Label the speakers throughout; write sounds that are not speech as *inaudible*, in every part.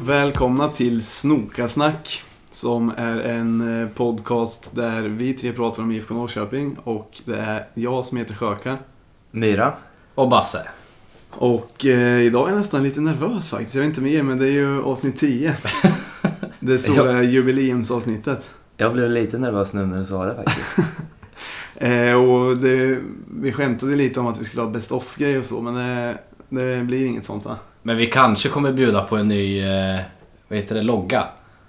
Speaker 1: välkomna till Snokasnack. Som är en eh, podcast där vi tre pratar om IFK Norrköping och det är jag som heter Sjöka.
Speaker 2: Myra.
Speaker 3: Och Basse.
Speaker 1: Och eh, idag är jag nästan lite nervös faktiskt. Jag vet inte med er men det är ju avsnitt 10. Det stora jubileumsavsnittet.
Speaker 2: Jag blev lite nervös nu när du sa det faktiskt.
Speaker 1: Eh, och det, vi skämtade lite om att vi skulle ha best off-grej och så men det, det blir inget sånt va?
Speaker 3: Men vi kanske kommer bjuda på en ny, eh, vad heter det, logga.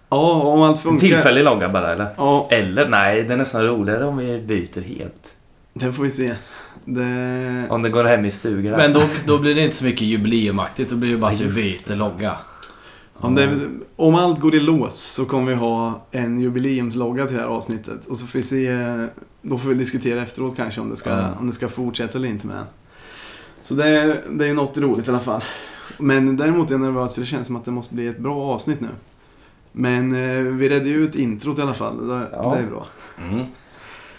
Speaker 1: Ja, om allt funkar.
Speaker 2: Tillfällig logga bara eller?
Speaker 1: Ja,
Speaker 2: Eller nej, det är nästan roligare om vi byter helt.
Speaker 1: det får vi se. Det...
Speaker 2: Om det går hem i stugan.
Speaker 3: Men då, då blir det inte så mycket jubileumaktigt, då blir det bara att vi
Speaker 2: Just
Speaker 3: byter logga.
Speaker 1: Om, det, om allt går i lås så kommer vi ha en jubileumslogga till det här avsnittet. Och så får vi se, då får vi diskutera efteråt kanske om det ska,
Speaker 2: Ja.
Speaker 1: om det ska fortsätta eller inte med den. Så det, det är ju något roligt i alla fall. Men däremot är jag nervös för det känns som att det måste bli ett bra avsnitt nu. Men eh, vi redde ju ut introt i alla fall. Det,
Speaker 2: Ja.
Speaker 1: det är bra.
Speaker 3: Mm.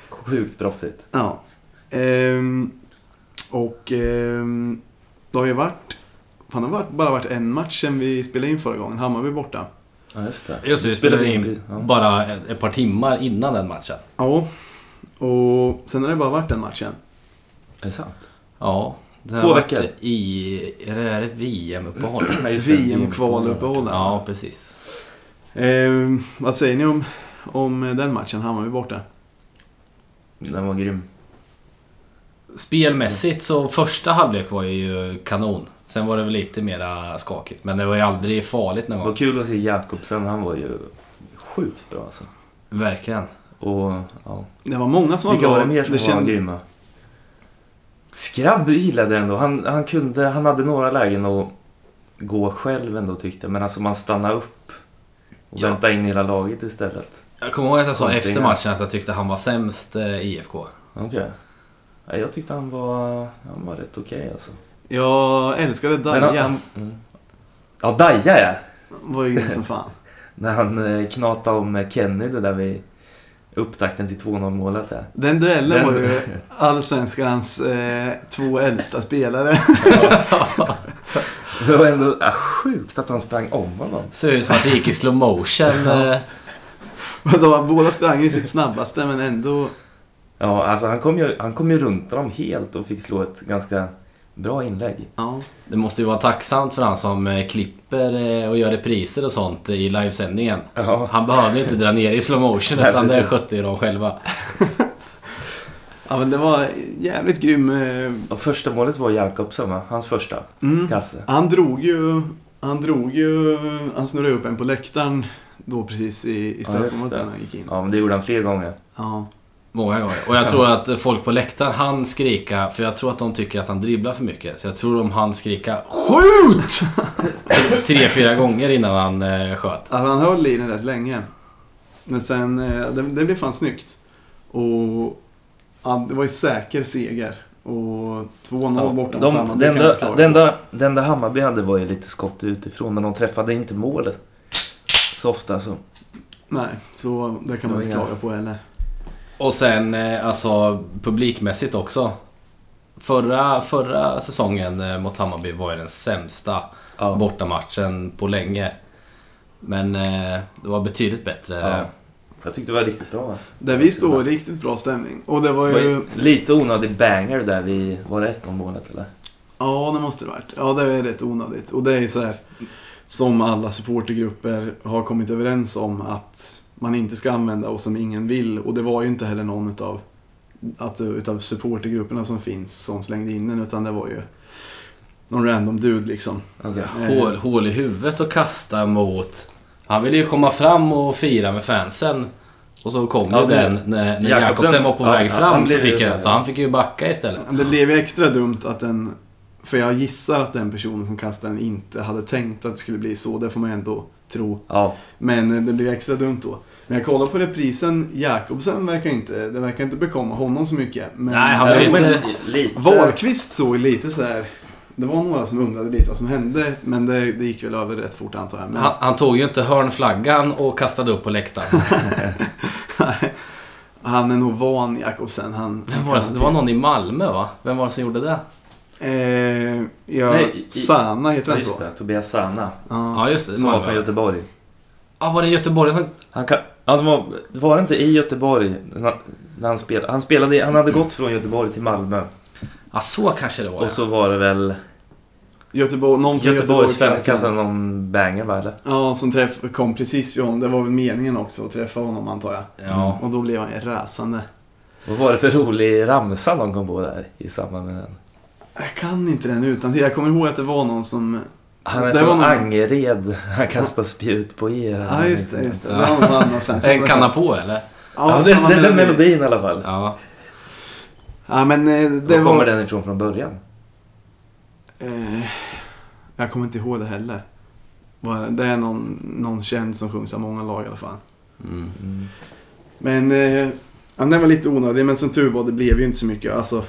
Speaker 2: Sjukt proffsigt.
Speaker 1: Ja. Ehm, och ehm, det har ju varit, fan det har varit- bara varit en match sedan vi spelade in förra gången. Hammarby borta.
Speaker 2: Ja, just det.
Speaker 3: Just det,
Speaker 2: Nu
Speaker 3: vi spelade
Speaker 2: precis.
Speaker 3: in
Speaker 2: Ja.
Speaker 3: bara ett, ett par timmar innan den matchen.
Speaker 1: Ja, och sen har det bara varit den matchen.
Speaker 2: Är det sant?
Speaker 3: Ja. det har
Speaker 2: Två
Speaker 3: varit
Speaker 2: veckor.
Speaker 3: I, är det- är det VM-uppehåll?
Speaker 2: *clears throat* Ja, just det.
Speaker 1: VM-kvaluppehåll.
Speaker 3: ja, precis.
Speaker 1: Eh, vad säger ni om, om den matchen? Hammarby borta.
Speaker 2: Den var grym.
Speaker 3: Spelmässigt så första halvlek var ju kanon. Sen var det väl lite mera skakigt, men det var ju aldrig farligt någon
Speaker 2: Det
Speaker 3: gång.
Speaker 2: var kul att se Jakobsen, han var ju sjukt bra alltså.
Speaker 3: Verkligen.
Speaker 2: Och ja.
Speaker 1: Det var många som var
Speaker 2: Vilka
Speaker 1: bra.
Speaker 2: var det mer som
Speaker 1: det
Speaker 2: var
Speaker 1: känd-
Speaker 2: grymma? Skrabb gillade jag ändå. Han, han, kunde, han hade några lägen att gå själv ändå tyckte jag. Men alltså man stannade upp och
Speaker 3: Ja.
Speaker 2: väntade in hela laget istället.
Speaker 3: Jag kommer ihåg att jag sa
Speaker 2: Konting,
Speaker 3: efter
Speaker 2: ja.
Speaker 3: matchen att jag tyckte han var sämst eh, IFK.
Speaker 2: Okej. Ja, jag tyckte han var, han var rätt okej alltså.
Speaker 1: Jag älskade
Speaker 2: Men han-
Speaker 1: Daja.
Speaker 2: han- mm. Ja, Daja ja!
Speaker 1: var ju grym som fan.
Speaker 2: När han eh, knatade om Kenny det där vid upptakten till 2-0 målet där.
Speaker 1: Den duellen
Speaker 2: Den-
Speaker 1: var ju Allsvenskans eh, två äldsta spelare. *laughs*
Speaker 2: Det var ändå ah, sjukt att han sprang om honom.
Speaker 3: Ser ut som att det gick i
Speaker 2: *laughs*
Speaker 3: slow motion. eh.
Speaker 1: Och de var- Båda sprang i sitt snabbaste men ändå...
Speaker 2: Ja, alltså han kom, ju, han kom ju runt dem helt och fick slå ett ganska bra inlägg.
Speaker 1: Ja.
Speaker 3: Det måste ju vara tacksamt för han som eh, klipper eh, och gör repriser och sånt i livesändningen.
Speaker 2: Ja,
Speaker 3: Han behövde ju inte dra ner i slow motion
Speaker 2: Nej,
Speaker 3: utan det
Speaker 2: precis.
Speaker 3: skötte ju de själva.
Speaker 1: ja men det var jävligt grym. Eh,
Speaker 2: och första målet var Jakobsen va? Hans första
Speaker 1: mm.
Speaker 2: kasse.
Speaker 1: Han drog ju... Han drog ju... Han snurrade upp en på läktaren då precis i, i
Speaker 2: Ja,
Speaker 1: straffområdet
Speaker 2: just det.
Speaker 1: när han gick in.
Speaker 2: Ja, men det gjorde han fler gånger.
Speaker 1: Ja.
Speaker 3: Många gånger. Och jag tror att folk på läktaren han skrika, för jag tror att de tycker att han dribblar för mycket. Så jag tror de han skrika SKJUT! *laughs* Tre, fyra gånger innan han eh, sköt.
Speaker 1: Alltså, han höll i den rätt länge. Men sen, eh, det, det blev fan snyggt. Och ja, det var ju säker seger. Och 2-0
Speaker 2: Ja,
Speaker 1: borta mot
Speaker 2: de,
Speaker 1: Hammarby
Speaker 2: det,
Speaker 1: kan jag inte
Speaker 2: enda,
Speaker 1: klaga
Speaker 2: det,
Speaker 1: på.
Speaker 2: enda, det enda Hammarby hade var ju lite skott utifrån, men de träffade inte målet. Så ofta så.
Speaker 1: Nej, så det kan
Speaker 2: Det
Speaker 1: man
Speaker 2: var
Speaker 1: inte
Speaker 2: inga-
Speaker 1: klaga på heller.
Speaker 3: Och sen eh, alltså publikmässigt också. Förra, förra säsongen eh, mot Hammarby var ju den sämsta
Speaker 2: Ja.
Speaker 3: bortamatchen på länge. Men eh, det var betydligt bättre.
Speaker 2: Ja. Jag tyckte det var riktigt bra.
Speaker 1: Där vi står, riktigt bra stämning. Och det var
Speaker 2: Det var ju
Speaker 1: ju...
Speaker 2: lite onödig banger där vid... Var det 1-0 målet eller?
Speaker 1: Ja, det måste det varit. Ja, det är rätt onödigt. Och det är ju så här som alla supportergrupper har kommit överens om att man inte ska använda och som ingen vill. Och det var ju inte heller någon utav, att, utav supportergrupperna som finns som slängde in den utan det var ju någon random dude liksom.
Speaker 2: Okej.
Speaker 3: Hål, hål i huvudet och kasta mot... Han ville ju komma fram och fira med fansen. Och så kom
Speaker 2: Ja,
Speaker 3: ju
Speaker 2: det-
Speaker 3: den när, när
Speaker 2: Jakobsen-
Speaker 3: Jakobsen var på
Speaker 2: ja,
Speaker 3: väg
Speaker 2: ja,
Speaker 3: fram.
Speaker 2: han
Speaker 3: så,
Speaker 2: blev ju
Speaker 3: fick
Speaker 2: så
Speaker 3: jag,
Speaker 2: här.
Speaker 3: så han fick ju backa istället.
Speaker 1: Det blev ju extra dumt att den, för jag gissar att den personen som kastade den inte hade tänkt att det skulle bli så, det får man ju ändå tro.
Speaker 2: Ja.
Speaker 1: Men det blev extra dumt då. Men jag kollar på reprisen, Jakobsen verkar inte, det verkar inte bekomma honom så mycket. Men
Speaker 3: Nej, han
Speaker 2: Ja,
Speaker 3: blev
Speaker 1: men
Speaker 3: inte-
Speaker 2: lite...
Speaker 1: Wahlqvist såg lite så här. Det var några som undrade lite vad som hände, men det, det gick väl över rätt fort antar jag. Men,
Speaker 2: Mm.
Speaker 3: Han, han tog ju inte hörnflaggan och kastade upp
Speaker 2: *laughs*
Speaker 3: på läktaren.
Speaker 1: *laughs* han är nog van Jakobsen. Han,
Speaker 3: Vem var det, som- det var någon i Malmö va? Vem var det som gjorde det?
Speaker 1: Eh, ja,
Speaker 2: Nej, i-
Speaker 1: Sana heter han
Speaker 2: Just
Speaker 1: så?
Speaker 2: det, Tobias Sana.
Speaker 1: Ja.
Speaker 3: Ja, just det.
Speaker 2: Som var
Speaker 3: Malmö.
Speaker 2: från Göteborg.
Speaker 3: Ja, var det Göteborg som...
Speaker 2: Han kan, ja, det var, var det inte i Göteborg när han- när han spelade? Han, spelade, i- han hade gått från Göteborg till Malmö.
Speaker 3: Ja, så kanske det var.
Speaker 2: Och så var det väl
Speaker 1: Göteborg, någon från Göteborg.
Speaker 2: Göteborgssvenskan som någon banger va? Eller?
Speaker 1: Ja, som träff, kom precis vid honom. Det var väl meningen också att träffa honom antar jag.
Speaker 3: Ja.
Speaker 1: Och då blev han rasande.
Speaker 2: Vad var det för rolig ramsa de kom på där i samband med den?
Speaker 1: Jag kan inte den utan Jag kommer ihåg att det var någon som...
Speaker 2: Han är
Speaker 1: Alltså, Det
Speaker 2: som
Speaker 1: var någon-
Speaker 2: Angered. Han kastar spjut på er.
Speaker 1: Ja, just det. Just det. det var någon annan fan.
Speaker 3: En kanna på eller?
Speaker 2: Ja, det
Speaker 1: samma
Speaker 2: är den melodin i alla fall.
Speaker 3: Ja.
Speaker 1: Ja, men eh, det
Speaker 2: Var
Speaker 1: var...
Speaker 2: kommer den ifrån från början?
Speaker 1: Eh, jag kommer inte ihåg det heller. Vad- Det är någon, någon känd som sjungs av många lag i alla fall.
Speaker 3: Mm.
Speaker 2: Mm.
Speaker 1: Men eh, ja, den var lite onödig, men som tur var det blev ju inte så mycket. Alltså,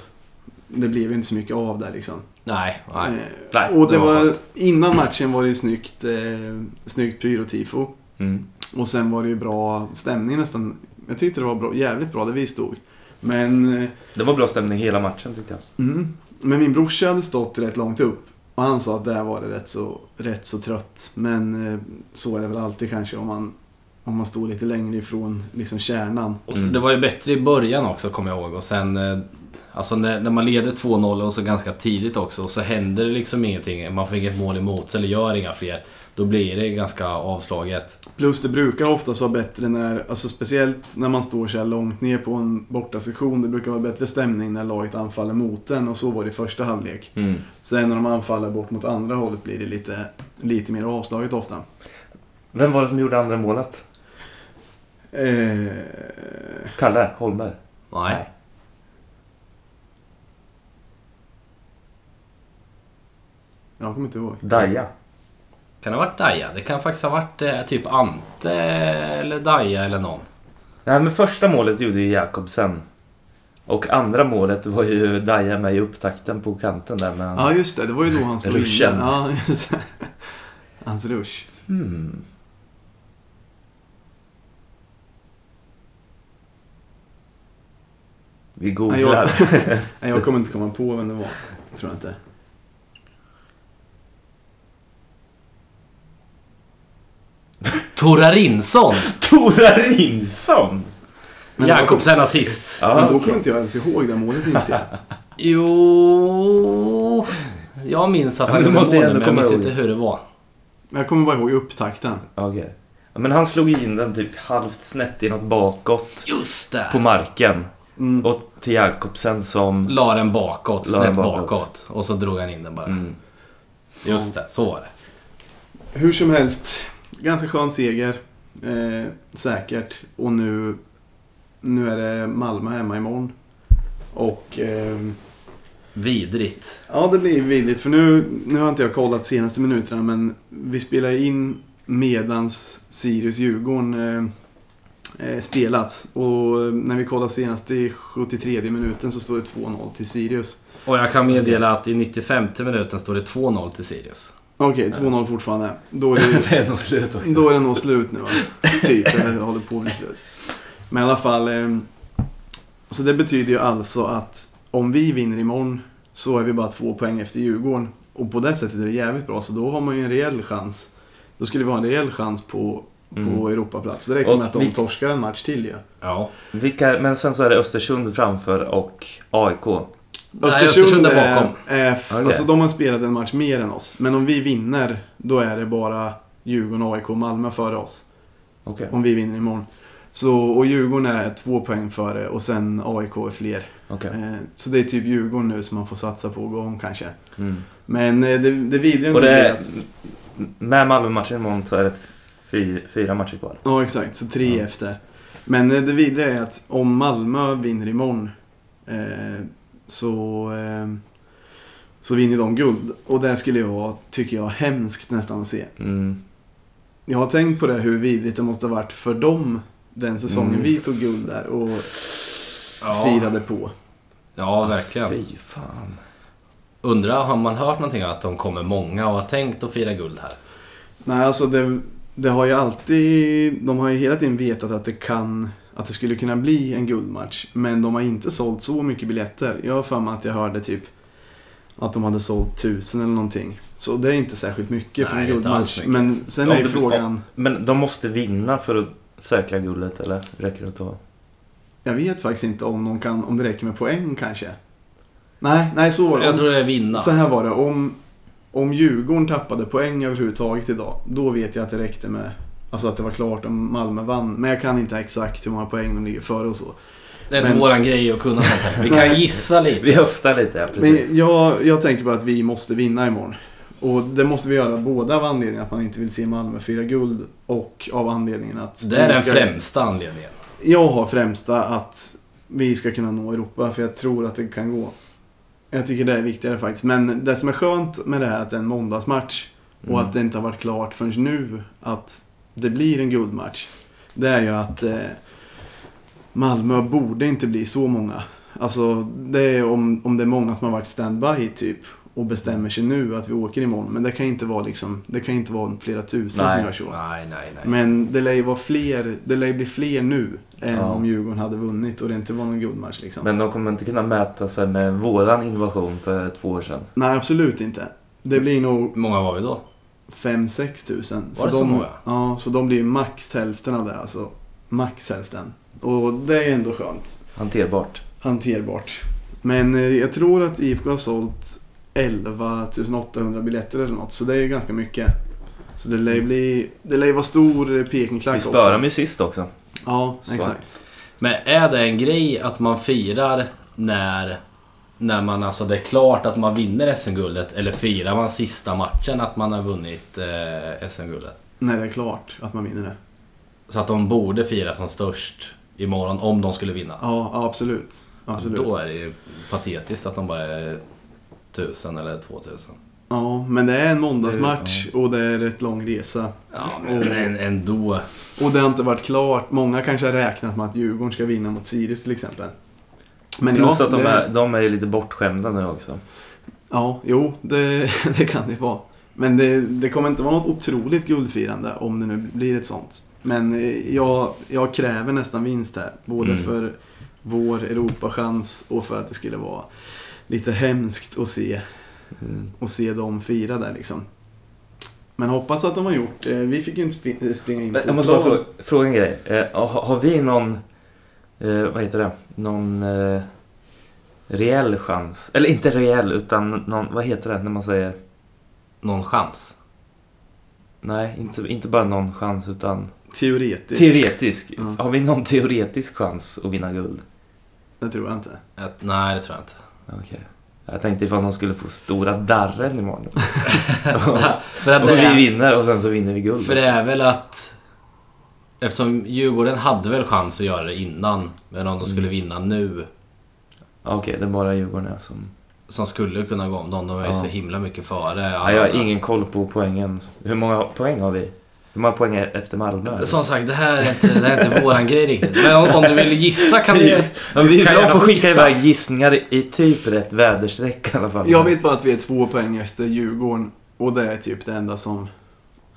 Speaker 1: det blev ju inte så mycket av det liksom.
Speaker 3: Nej, nej.
Speaker 1: Eh,
Speaker 2: Nej,
Speaker 1: och det
Speaker 2: det var
Speaker 1: var,
Speaker 2: skönt.
Speaker 1: innan matchen var det ju snyggt, eh, snyggt pyrotifo.
Speaker 2: Mm.
Speaker 1: Och sen var det ju bra stämning nästan. Jag tyckte det var bra, jävligt bra där vi stod. Men, eh,
Speaker 2: Det var bra stämning hela matchen tyckte jag.
Speaker 1: mm, men min brorsa hade stått rätt långt upp. Och han sa att där var det rätt så, rätt så trött. Men eh, så är det väl alltid kanske om man, om man står lite längre ifrån liksom, kärnan.
Speaker 3: Och så,
Speaker 2: Mm.
Speaker 3: Det var ju bättre i början också kommer jag ihåg och sen... eh, Alltså när, när man leder 2-0 och så ganska tidigt också och så händer det liksom ingenting. Man får inget mål emot sig eller gör inga fler. Då blir det ganska avslaget.
Speaker 1: Plus det brukar oftast vara bättre när, alltså speciellt när man står så här långt ner på en bortasektion. Det brukar vara bättre stämning när laget anfaller mot den och så var det i första halvlek.
Speaker 2: Mm.
Speaker 1: Sen när de anfaller bort mot andra hållet blir det lite, lite mer avslaget ofta.
Speaker 2: Vem var det som gjorde andra målet?
Speaker 1: Eh,
Speaker 2: Kalle Holmer?
Speaker 3: Nej.
Speaker 1: jag kommer inte ihåg.
Speaker 2: Daja?
Speaker 3: Kan det ha varit Daja? Det kan faktiskt ha varit eh, typ Ante eller Daja eller någon.
Speaker 2: Nej, men första målet gjorde ju Jakobsen. Och andra målet var ju Daja med i upptakten på kanten där med
Speaker 1: Ja,
Speaker 2: han.
Speaker 1: just det. Det var ju då han slog in den.
Speaker 2: Ruschen.
Speaker 1: Ja, just det. Hans rush.
Speaker 2: Hmm. Vi googlar. *laughs*
Speaker 1: Nej, jag kommer inte komma på vem det var. Tror jag inte.
Speaker 3: Torarinsson!
Speaker 2: *laughs* Tora Rinsson!
Speaker 1: Men
Speaker 3: Jakobsen assist.
Speaker 1: Då, men
Speaker 2: Ja,
Speaker 1: då kommer inte jag ens ihåg det målet inser jag.
Speaker 3: Jo... Jag minns att
Speaker 2: Ja,
Speaker 3: han
Speaker 2: men då
Speaker 3: gjorde målet
Speaker 2: måste jag
Speaker 3: men
Speaker 2: ändå
Speaker 3: jag
Speaker 2: komma
Speaker 3: minns
Speaker 2: ihåg.
Speaker 3: inte hur det var.
Speaker 1: Men Jag kommer bara ihåg upptakten.
Speaker 2: okej. Ja, Men han slog ju in den typ halvt snett inåt bakåt
Speaker 3: Just
Speaker 2: på
Speaker 3: det!
Speaker 2: marken.
Speaker 1: Mm.
Speaker 2: Och till Jakobsen som...
Speaker 3: La den bakåt,
Speaker 2: La den
Speaker 3: snett bakåt.
Speaker 2: bakåt.
Speaker 3: Och så drog han in den bara.
Speaker 2: Mm.
Speaker 3: Just det, så var det.
Speaker 1: Hur som helst. Ganska skön seger. Eh, säkert. Och nu, nu är det Malmö hemma imorgon. Och... ehm,
Speaker 3: Vidrigt.
Speaker 1: Ja, det blir vidrigt för nu, nu har inte jag kollat senaste minuterna men vi spelar in medans Sirius-Djurgården eh, eh, spelats. Och eh, när vi kollar senast i 73 minuten så står det 2-0 till Sirius.
Speaker 3: Och jag kan meddela att i 95 minuten står det 2-0 till Sirius.
Speaker 1: Okej, 2-0 fortfarande. Då är, *laughs* det,
Speaker 2: Det är nog slut också.
Speaker 1: då är det nog slut nu va? Typ, eller håller på att bli slut. Men i alla fall. Eh, så det betyder ju alltså att om vi vinner imorgon så är vi bara två poäng efter Djurgården. Och på det sättet är det jävligt bra, så då har man ju en rejäl chans. Då skulle vi ha en rejäl chans på, på
Speaker 2: Mm.
Speaker 1: Europaplats. Det räcker
Speaker 2: Och
Speaker 1: med att de
Speaker 2: vi-
Speaker 1: torskar en match till ju.
Speaker 3: Ja.
Speaker 2: Vilka, men sen så är det Östersund framför och AIK.
Speaker 3: Nej, Östersund är bakom.
Speaker 1: Är, är f-
Speaker 2: Okej.
Speaker 1: Alltså de har spelat en match mer än oss. Men om vi vinner, då är det bara Djurgården, AIK och Malmö före oss.
Speaker 2: Okej.
Speaker 1: Om vi vinner imorgon. Så, och Djurgården är två poäng före och sen AIK är fler.
Speaker 2: Okej.
Speaker 1: Eh, Så det är typ Djurgården nu som man får satsa på och gå om kanske.
Speaker 2: Mm.
Speaker 1: Men eh, det, det vidriga
Speaker 2: Och
Speaker 1: nu
Speaker 2: det
Speaker 1: är
Speaker 2: är,
Speaker 1: att...
Speaker 2: med Malmö-matchen imorgon så är det fy, fyra matcher kvar.
Speaker 1: Ja, exakt. Så tre
Speaker 2: Ja.
Speaker 1: efter. Men eh, det vidriga är att om Malmö vinner imorgon eh, så, eh, så vinner de guld. Och det skulle ju vara, tycker jag, hemskt nästan att se.
Speaker 2: Mm.
Speaker 1: Jag har tänkt på det, hur vidrigt det måste ha varit för dem den säsongen
Speaker 2: Mm.
Speaker 1: vi tog guld där och
Speaker 3: Ja.
Speaker 1: firade på.
Speaker 3: Ja, verkligen.
Speaker 2: Fy fan.
Speaker 3: Undrar, har man hört någonting om att de kommer många och har tänkt att fira guld här?
Speaker 1: Nej, alltså det, det har ju alltid... De har ju hela tiden vetat att det kan... Att det skulle kunna bli en guldmatch. Men de har inte sålt så mycket biljetter. Jag har för mig att jag hörde typ... Att de hade sålt tusen eller någonting. Så det är inte särskilt mycket för
Speaker 3: Nej,
Speaker 1: en
Speaker 3: det är inte alls
Speaker 1: guldmatch.
Speaker 3: mycket.
Speaker 1: Men sen
Speaker 2: Ja,
Speaker 1: är ju
Speaker 2: det-
Speaker 1: frågan.
Speaker 2: Men de måste vinna för att säkra guldet eller räcker det att ta?
Speaker 1: Jag vet faktiskt inte om, de kan, om det räcker med poäng kanske. Nej, nej så var det.
Speaker 3: Jag tror det är vinna.
Speaker 1: Så här var det. Om, om Djurgården tappade poäng överhuvudtaget idag. Då vet jag att det räckte med. Alltså att det var klart om Malmö vann. Men jag kan inte exakt hur många poäng de ligger före och så.
Speaker 3: Det är inte
Speaker 1: Men-
Speaker 3: våran grej att kunna sånt här. Vi kan
Speaker 1: Nej.
Speaker 3: gissa lite.
Speaker 2: Vi höftar lite, ja, precis.
Speaker 1: Men jag, jag tänker bara att vi måste vinna imorgon. Och det måste vi göra både av anledningen att man inte vill se Malmö fira guld och av anledningen att...
Speaker 3: Så det är
Speaker 1: vi
Speaker 3: den
Speaker 1: ska-
Speaker 3: främsta anledningen.
Speaker 1: Jag har främsta att vi ska kunna nå Europa, för jag tror att det kan gå. Jag tycker det är viktigare faktiskt. Men det som är skönt med det här är att det är en måndagsmatch
Speaker 2: Mm.
Speaker 1: och att det inte har varit klart förrän nu att det blir en guldmatch. Det är ju att eh, Malmö borde inte bli så många. Alltså det är om, om det är många som har varit standby typ och bestämmer sig nu att vi åker imorgon. Men det kan inte vara liksom, det kan inte vara flera tusen
Speaker 2: Nej,
Speaker 1: som gör så.
Speaker 3: Nej, nej, nej.
Speaker 1: Men det lär ju vara fler, det lär ju bli fler nu än
Speaker 2: Ja.
Speaker 1: om Djurgården hade vunnit och det inte var någon guldmatch liksom.
Speaker 2: Men de kommer inte kunna mäta sig med våran invasion för två år sedan.
Speaker 1: Nej, absolut inte. Det blir nog
Speaker 3: Hur många var vi då?
Speaker 1: 5-6 tusen. Var
Speaker 3: det så
Speaker 1: de,
Speaker 3: många?
Speaker 1: Ja, så de blir max hälften av det alltså. Max hälften. Och det är ändå skönt.
Speaker 2: Hanterbart.
Speaker 1: Hanterbart. Men eh, jag tror att IFK har sålt 11 800 biljetter eller något, så det är ju ganska mycket. Så det lär ju bli, det lär ju vara stor eh,
Speaker 2: Vi
Speaker 1: Pekingklack
Speaker 2: spöade
Speaker 1: också.
Speaker 2: dem ju sist också.
Speaker 1: Ja,
Speaker 3: Så.
Speaker 1: exakt.
Speaker 3: Men är det en grej att man firar när, när man alltså det är klart att man vinner SM-guldet? Eller firar man sista matchen att man har vunnit eh, SM-guldet?
Speaker 1: När det är klart att man vinner det.
Speaker 3: Så att de borde fira som störst imorgon om de skulle vinna.
Speaker 1: Ja, ja, absolut. absolut.
Speaker 3: Då är det ju patetiskt att de bara är 1000 eller 2000.
Speaker 1: Ja, men det är en måndagsmatch och det är rätt lång resa.
Speaker 3: Ja, men en- ändå.
Speaker 1: Och det har inte varit klart. Många kanske har räknat med att Djurgården ska vinna mot Sirius till exempel. Men
Speaker 2: Plus
Speaker 1: ja,
Speaker 2: att de
Speaker 1: det,
Speaker 2: är, de är ju lite bortskämda nu också.
Speaker 1: Ja, jo, det, *laughs* det kan det vara. Men det, det kommer inte vara något otroligt guldfirande om det nu blir ett sånt. Men eh, jag, jag kräver nästan vinst här. Både
Speaker 2: Mm.
Speaker 1: för vår Europachans och för att det skulle vara lite hemskt att se
Speaker 2: Mm.
Speaker 1: och se dem fira där liksom. Men hoppas att de har gjort. eh, Vi fick ju inte sp- springa in på
Speaker 2: Eh, Jag måste bara
Speaker 1: plan.
Speaker 2: fråga, fråga en grej. Eh, har, har vi någon, eh, vad heter det, någon eh, reell chans? Eller inte reell, utan någon, vad heter det när man säger?
Speaker 3: Någon chans.
Speaker 2: Nej, inte, inte bara någon chans utan
Speaker 1: Teoretiskt.
Speaker 2: teoretisk.
Speaker 1: Ja.
Speaker 2: Har vi någon teoretisk chans att vinna guld?
Speaker 1: Det tror jag inte.
Speaker 3: Att, nej, det tror jag inte.
Speaker 2: Okej. Jag tänkte ifall de skulle få stora darren imorgon.
Speaker 3: för, att
Speaker 2: och
Speaker 3: det
Speaker 2: vi
Speaker 3: är,
Speaker 2: vinner och sen så vinner vi guld.
Speaker 3: för det
Speaker 2: också.
Speaker 3: är väl att... Eftersom Djurgården hade väl chans att göra det innan, men om de
Speaker 2: Mm.
Speaker 3: skulle vinna nu,
Speaker 2: Ja, Ah, Okej, det är bara Djurgården här som...
Speaker 3: som skulle kunna gå om dem, de är ju
Speaker 2: Ja.
Speaker 3: så himla mycket före.
Speaker 2: Ja, jag har ingen koll på poängen. Hur många poäng har vi? Hur många poäng är efter Malmö?
Speaker 3: Som sagt, det här är inte, det här är inte våran grej riktigt. Men om, om du vill gissa kan du ju...
Speaker 2: Typ. Ja, vi är
Speaker 3: kan
Speaker 2: bra
Speaker 3: gärna
Speaker 2: på att
Speaker 3: få
Speaker 2: skicka
Speaker 3: gissa.
Speaker 2: iväg gissningar i- i typ rätt väderstreck i alla fall.
Speaker 1: Jag vet bara att vi är två poäng efter Djurgården och det är typ det enda som,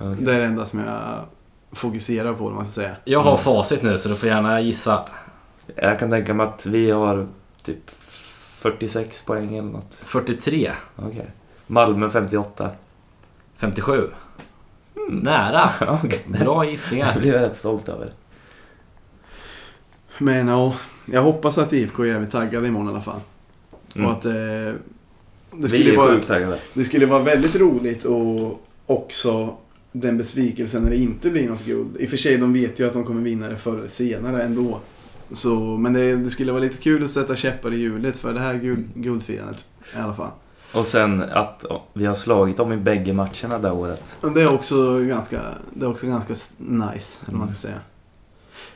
Speaker 2: Okej.
Speaker 1: det är det enda som jag fokuserar på, om man ska säga.
Speaker 3: Jag
Speaker 2: Mm.
Speaker 3: har facit nu, så du får gärna gissa.
Speaker 2: Jag kan tänka mig att vi har typ 46 poäng eller något.
Speaker 3: 43,
Speaker 2: Okej. Malmö 58.
Speaker 3: 57.
Speaker 2: Mm.
Speaker 3: Nära.
Speaker 2: *laughs* Okej.
Speaker 3: Bra gissningar.
Speaker 2: *laughs* Det blev jag rätt stolt över.
Speaker 1: Men ja, jag hoppas att IFK är jävligt taggade imorgon i alla fall.
Speaker 2: Mm.
Speaker 1: Och att eh, det,
Speaker 2: Vi
Speaker 1: skulle
Speaker 2: är
Speaker 1: vara,
Speaker 2: sjukt taggade.
Speaker 1: det skulle vara väldigt roligt och också den besvikelsen när det inte blir något guld. I och för sig, de vet ju att de kommer vinna det förr eller senare ändå. Så, men det, det skulle vara lite kul att sätta käppar i hjulet för det här guld, guldfirandet i alla fall.
Speaker 2: Och sen att vi har slagit dem i bägge matcherna det här året.
Speaker 1: Men Det är också ganska, det är också ganska s- nice, eller vad man ska säga.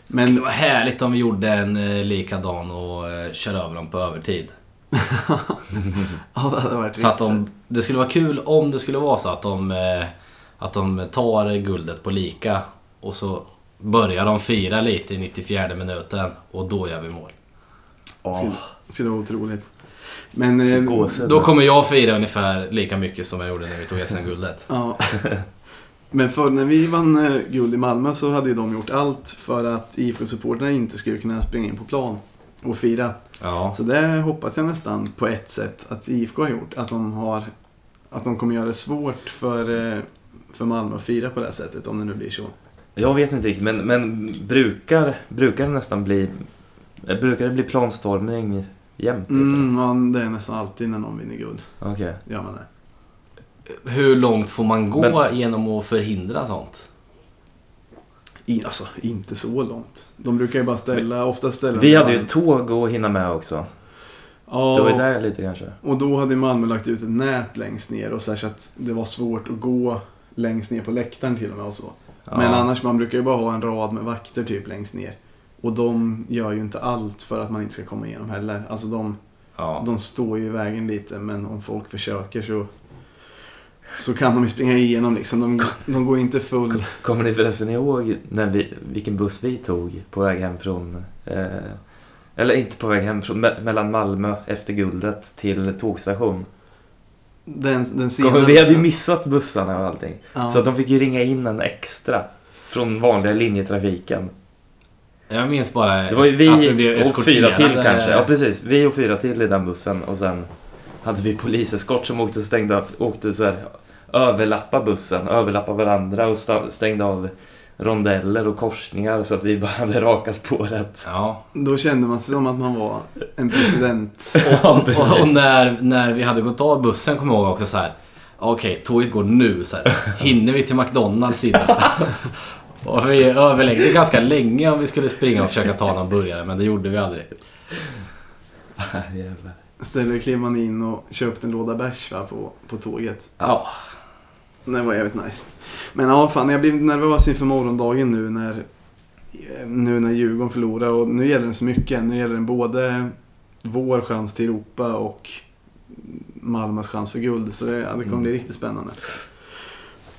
Speaker 3: Det skulle
Speaker 1: Men
Speaker 3: vara härligt om vi gjorde en eh, likadan och eh, kör över dem på övertid.
Speaker 1: *laughs* ja, det hade varit
Speaker 3: Så att
Speaker 1: riktigt-
Speaker 3: de, det skulle vara kul om det skulle vara så att de, eh, att de tar guldet på lika och så börjar de fira lite i 94 minuten och då gör vi mål.
Speaker 1: skulle,
Speaker 2: Oh,
Speaker 1: skulle vara otroligt. Men... Eh,
Speaker 3: Då kommer jag fira ungefär lika mycket som jag gjorde när vi tog
Speaker 2: *laughs*
Speaker 3: SM-guldet.
Speaker 1: *laughs* ja. Men förr när vi vann eh, guld i Malmö så hade ju de gjort allt för att IFK-supportrarna inte skulle kunna springa in på plan. och fira.
Speaker 3: Ja.
Speaker 1: Så det hoppas jag nästan på ett sätt att IFK har gjort. Att de, har, att de kommer göra det svårt för, eh, för Malmö att fira på det här sättet om det nu blir så.
Speaker 2: Jag vet inte riktigt, men, men brukar, brukar det nästan bli... eh, Brukar det bli planstormning jämt? eller?
Speaker 1: Mm, man, det är nästan alltid när någon vinner guld.
Speaker 2: Okej.
Speaker 1: Gör man det.
Speaker 3: Hur långt får man gå
Speaker 2: Men-
Speaker 3: genom att förhindra sånt?
Speaker 1: I, alltså, inte så långt. De brukar ju bara ställa, ofta ställa...
Speaker 2: Vi hade ju tåg att hinna med också. Det var ju
Speaker 1: Ja,
Speaker 2: där lite kanske.
Speaker 1: och då hade Malmö lagt ut ett nät längst ner och så, här, så att det var svårt att gå längst ner på läktaren till och med och så.
Speaker 3: Ja.
Speaker 1: Men annars, man brukar ju bara ha en rad med vakter typ längst ner. Och de gör ju inte allt för att man inte ska komma igenom heller. Alltså de,
Speaker 3: Ja.
Speaker 1: de står ju i vägen lite men om folk försöker så, så kan de ju springa igenom liksom. De, de går inte full...
Speaker 2: Kommer ni förresten ihåg när vi, vilken buss vi tog på väg hem från... Eh, eller inte på väg hem från, me- mellan Malmö efter guldet till tågstation.
Speaker 1: Den, den
Speaker 2: Kommer,
Speaker 1: scenen,
Speaker 2: vi hade ju missat bussarna och allting.
Speaker 1: ja.
Speaker 2: Så att de fick ju ringa in en extra. Från vanliga linjetrafiken.
Speaker 3: Jag minns bara
Speaker 2: Det var ju vi,
Speaker 3: att vi blev
Speaker 2: och fyra
Speaker 3: eskorterade.
Speaker 2: till kanske. Ja precis, vi och fyra till i den bussen och sen hade vi poliseskort som åkte och stängde av, åkte så här, överlappa bussen, överlappa varandra och sta- stängde av rondeller och korsningar så att vi bara *laughs* hade raka spåret. *laughs*
Speaker 3: Ja.
Speaker 1: Då kände man sig som att man var en president.
Speaker 2: Ja, precis.
Speaker 3: Och, och när, när vi hade gått av bussen kommer jag ihåg också så här. Okej, tåget går nu. Så här. Hinner vi till McDonalds innan?
Speaker 1: *laughs*
Speaker 3: och vi överläggde ganska länge om vi skulle springa och försöka ta någon burgare, men det gjorde vi aldrig.
Speaker 2: Ah, Jävlar.
Speaker 1: Istället klev man in och köpte en låda bärs va, på, på tåget.
Speaker 3: Ja.
Speaker 1: Det var jävligt nice. Men ja, fan jag blev nervös inför morgondagen nu när, nu när Djurgården förlorar och nu gäller den så mycket. Nu gäller den både vår chans till Europa och Malmös chans för guld. Så det, ja, det kommer bli riktigt spännande.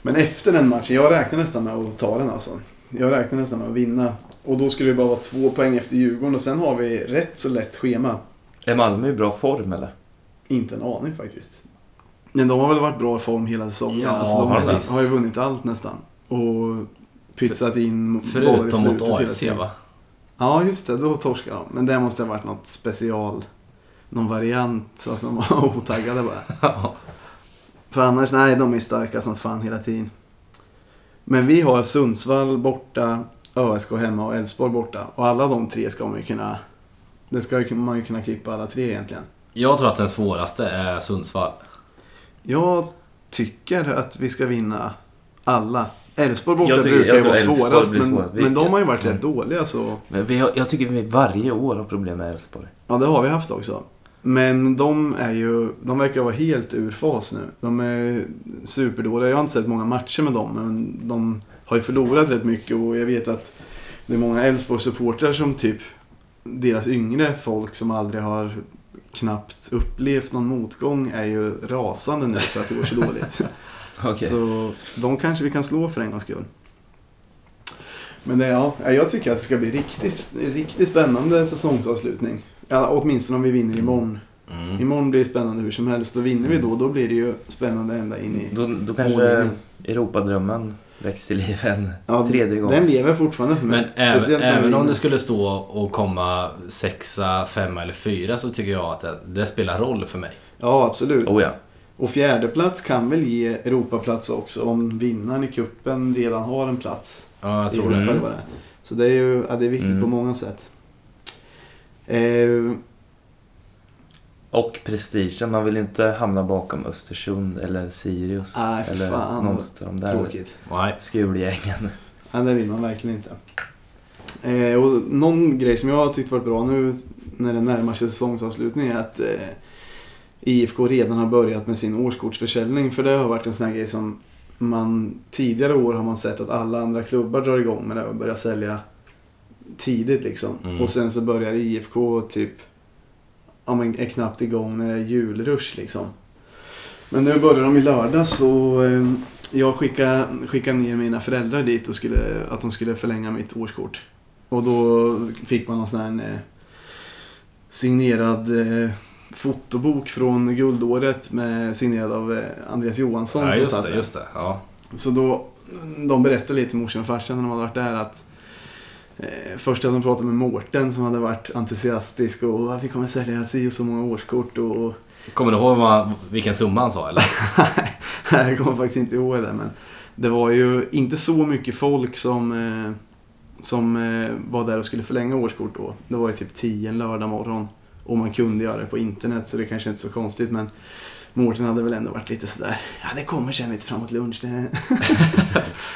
Speaker 1: Men efter den matchen, jag räknar nästan med att ta den alltså. Jag räknar nästan med att vinna. Och då skulle det bara vara två poäng efter Djurgården och sen har vi rätt så lätt schema.
Speaker 2: Är Malmö i bra form eller?
Speaker 1: Inte en aning faktiskt. Men de har väl varit bra i form hela säsongen.
Speaker 3: Ja,
Speaker 1: alltså, de har,
Speaker 2: precis.
Speaker 1: har ju vunnit allt nästan. Och pytsat in bollar i
Speaker 3: Förutom
Speaker 1: slutet
Speaker 3: mot
Speaker 1: hela
Speaker 3: AFC
Speaker 1: tiden.
Speaker 3: va? *laughs*
Speaker 1: Ja, just det. Då torskade de. Men det måste ha varit något special. Någon variant. Så att de var *laughs* otaggade bara.
Speaker 3: Ja.
Speaker 1: För annars, nej, de är starka som fan hela tiden. Men vi har Sundsvall borta, ÖSK hemma och Elfsborg borta. Och alla de tre ska man ju kunna... Det ska ju- man ju kunna klippa alla tre egentligen.
Speaker 3: Jag tror att den svåraste är Sundsvall.
Speaker 1: Jag tycker att vi ska vinna alla. Elfsborg borta
Speaker 2: Jag tycker-
Speaker 1: brukar ju
Speaker 2: jag
Speaker 1: vara
Speaker 2: tror Elfsborg
Speaker 1: svårast,
Speaker 2: blir
Speaker 1: men,
Speaker 2: svårast. Vi-
Speaker 1: men de har ju varit
Speaker 2: Mm.
Speaker 1: rätt dåliga så...
Speaker 2: Men vi har, jag tycker vi varje år har problem med Elfsborg.
Speaker 1: Ja, det har vi haft också. Men de är ju... De verkar vara helt ur fas nu. De är superdåliga. Jag har inte sett många matcher med dem, men de har ju förlorat rätt mycket och jag vet att det är många Elfsborg-supportrar som typ... Deras yngre folk som aldrig har knappt upplevt någon motgång är ju rasande nu för att det går så dåligt.
Speaker 2: Okej.
Speaker 1: Så de kanske vi kan slå för en gångs skull. Men det, ja, jag tycker att det ska bli riktigt, riktigt spännande säsongsavslutning. Ja, åtminstone om vi vinner imorgon.
Speaker 3: Mm.
Speaker 1: Imorgon blir det spännande hur som helst och vinner vi då, då blir det ju spännande ända in i...
Speaker 2: Då, då kanske
Speaker 1: Mållinjen.
Speaker 2: Europadrömmen väcks till liv en
Speaker 1: Mm. Ja,
Speaker 2: tredje gång.
Speaker 1: Den lever fortfarande för mig.
Speaker 3: Men även,
Speaker 1: Speciellt när vi
Speaker 3: även om
Speaker 1: vinner.
Speaker 3: det skulle stå och komma sexa, femma eller fyra så tycker jag att det, det spelar roll för mig.
Speaker 1: Ja, absolut.
Speaker 2: Oh, ja.
Speaker 1: Och fjärdeplats kan väl ge Europaplats också om vinnaren i kuppen redan har en plats.
Speaker 3: Ja, jag
Speaker 1: i
Speaker 3: tror
Speaker 1: Europa,
Speaker 3: det.
Speaker 1: eller vad det. är. Så det är ju ja, det är viktigt
Speaker 2: Mm.
Speaker 1: på många sätt. Eh,
Speaker 2: Och prestigen, man vill inte hamna bakom Östersund eller Sirius.
Speaker 1: Nej, för
Speaker 2: eller
Speaker 1: fan,
Speaker 2: någon
Speaker 1: vad
Speaker 2: av de där
Speaker 1: tråkigt.
Speaker 3: Nej.
Speaker 2: skurgängen.
Speaker 1: Ja, det vill man verkligen inte. Eh, och någon grej som jag har tyckt varit bra nu när det närmar sig säsongsavslutning är att eh, IFK redan har börjat med sin årskortsförsäljning. För det har varit en sån här grej som man tidigare år har man sett att alla andra klubbar drar igång med det och börjar sälja tidigt liksom.
Speaker 3: Mm.
Speaker 1: Och sen så börjar IFK typ, ja men är knappt igång när det är julrush liksom. Men nu börjar de i lördags och eh, jag skickade, skickade ner mina föräldrar dit och skulle, att de skulle förlänga mitt årskort. Och då fick man någon sån här eh, signerad eh, fotobok från guldåret med, signerad av eh, Andreas Johansson.
Speaker 3: Ja,
Speaker 1: som
Speaker 3: just
Speaker 1: satt
Speaker 3: det.
Speaker 1: där.
Speaker 3: Just det. Ja.
Speaker 1: Så då, de berättade lite morsan och farsan när de hade varit där att Eh, först hade de pratat med Mårten som hade varit entusiastisk och "Åh, vi kommer sälja si och så många årskort och, och
Speaker 3: Kommer du ihåg vad, vilken summa han sa eller? *laughs*
Speaker 1: *laughs* Nej, jag kommer faktiskt inte ihåg det men det var ju inte så mycket folk som, eh, som eh, var där och skulle förlänga årskort då. Det var ju typ 10 en lördag morgon och man kunde göra det på internet så det kanske inte är så konstigt men Mårten hade väl ändå varit lite sådär, ja det kommer sen lite framåt lunch. Det...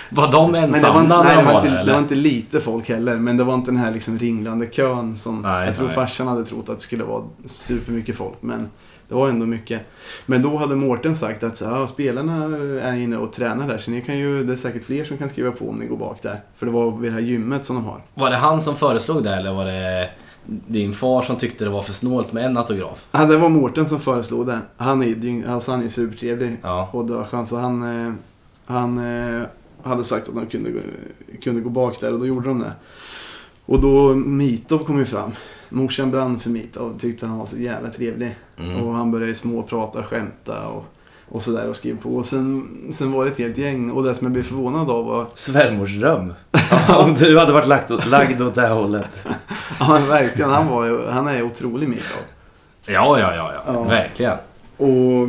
Speaker 3: Var de
Speaker 1: Men det
Speaker 3: ensamma
Speaker 1: var,
Speaker 3: när
Speaker 1: nej, det,
Speaker 3: de
Speaker 1: var
Speaker 3: var där
Speaker 1: inte, det var
Speaker 3: eller?
Speaker 1: inte lite folk heller, men det var inte den här liksom ringlande kön som
Speaker 3: Nej,
Speaker 1: jag tror
Speaker 3: nej.
Speaker 1: farsan hade trott att det skulle vara supermycket folk, men det var ändå mycket. Men då hade Mårten sagt att så, här, "Ja, spelarna är inne och tränar där, så ni kan ju, det är säkert fler som kan skriva på om ni går bak där. För det var vid det här gymmet som de har.
Speaker 3: Var det han som föreslog det eller var det din far som tyckte det var för snålt med en autograf?
Speaker 1: Ja, det var Mårten som föreslog det. Han är ju dyng- alltså, han är ju supertrevlig
Speaker 3: Ja.
Speaker 1: och dödskön, så han, eh, han eh, hade sagt att de kunde, gå- kunde gå bak där och då gjorde de det. Och då Mitov kom ju fram. Morsan brann för Mitov, tyckte han var så jävla trevlig.
Speaker 3: Mm.
Speaker 1: Och han började ju småprata, skämta och, och sådär och skrev på. Och sen, sen var det ett helt gäng och det som jag blev förvånad av var *laughs*
Speaker 2: Svärmorsdröm. *laughs* Om du hade varit lagt, lagd åt det här hållet.
Speaker 1: Ja men verkligen, han, var ju, han är ju otrolig Mitov.
Speaker 3: Ja, ja, ja, ja.
Speaker 1: Ja.
Speaker 3: Verkligen.
Speaker 1: Och,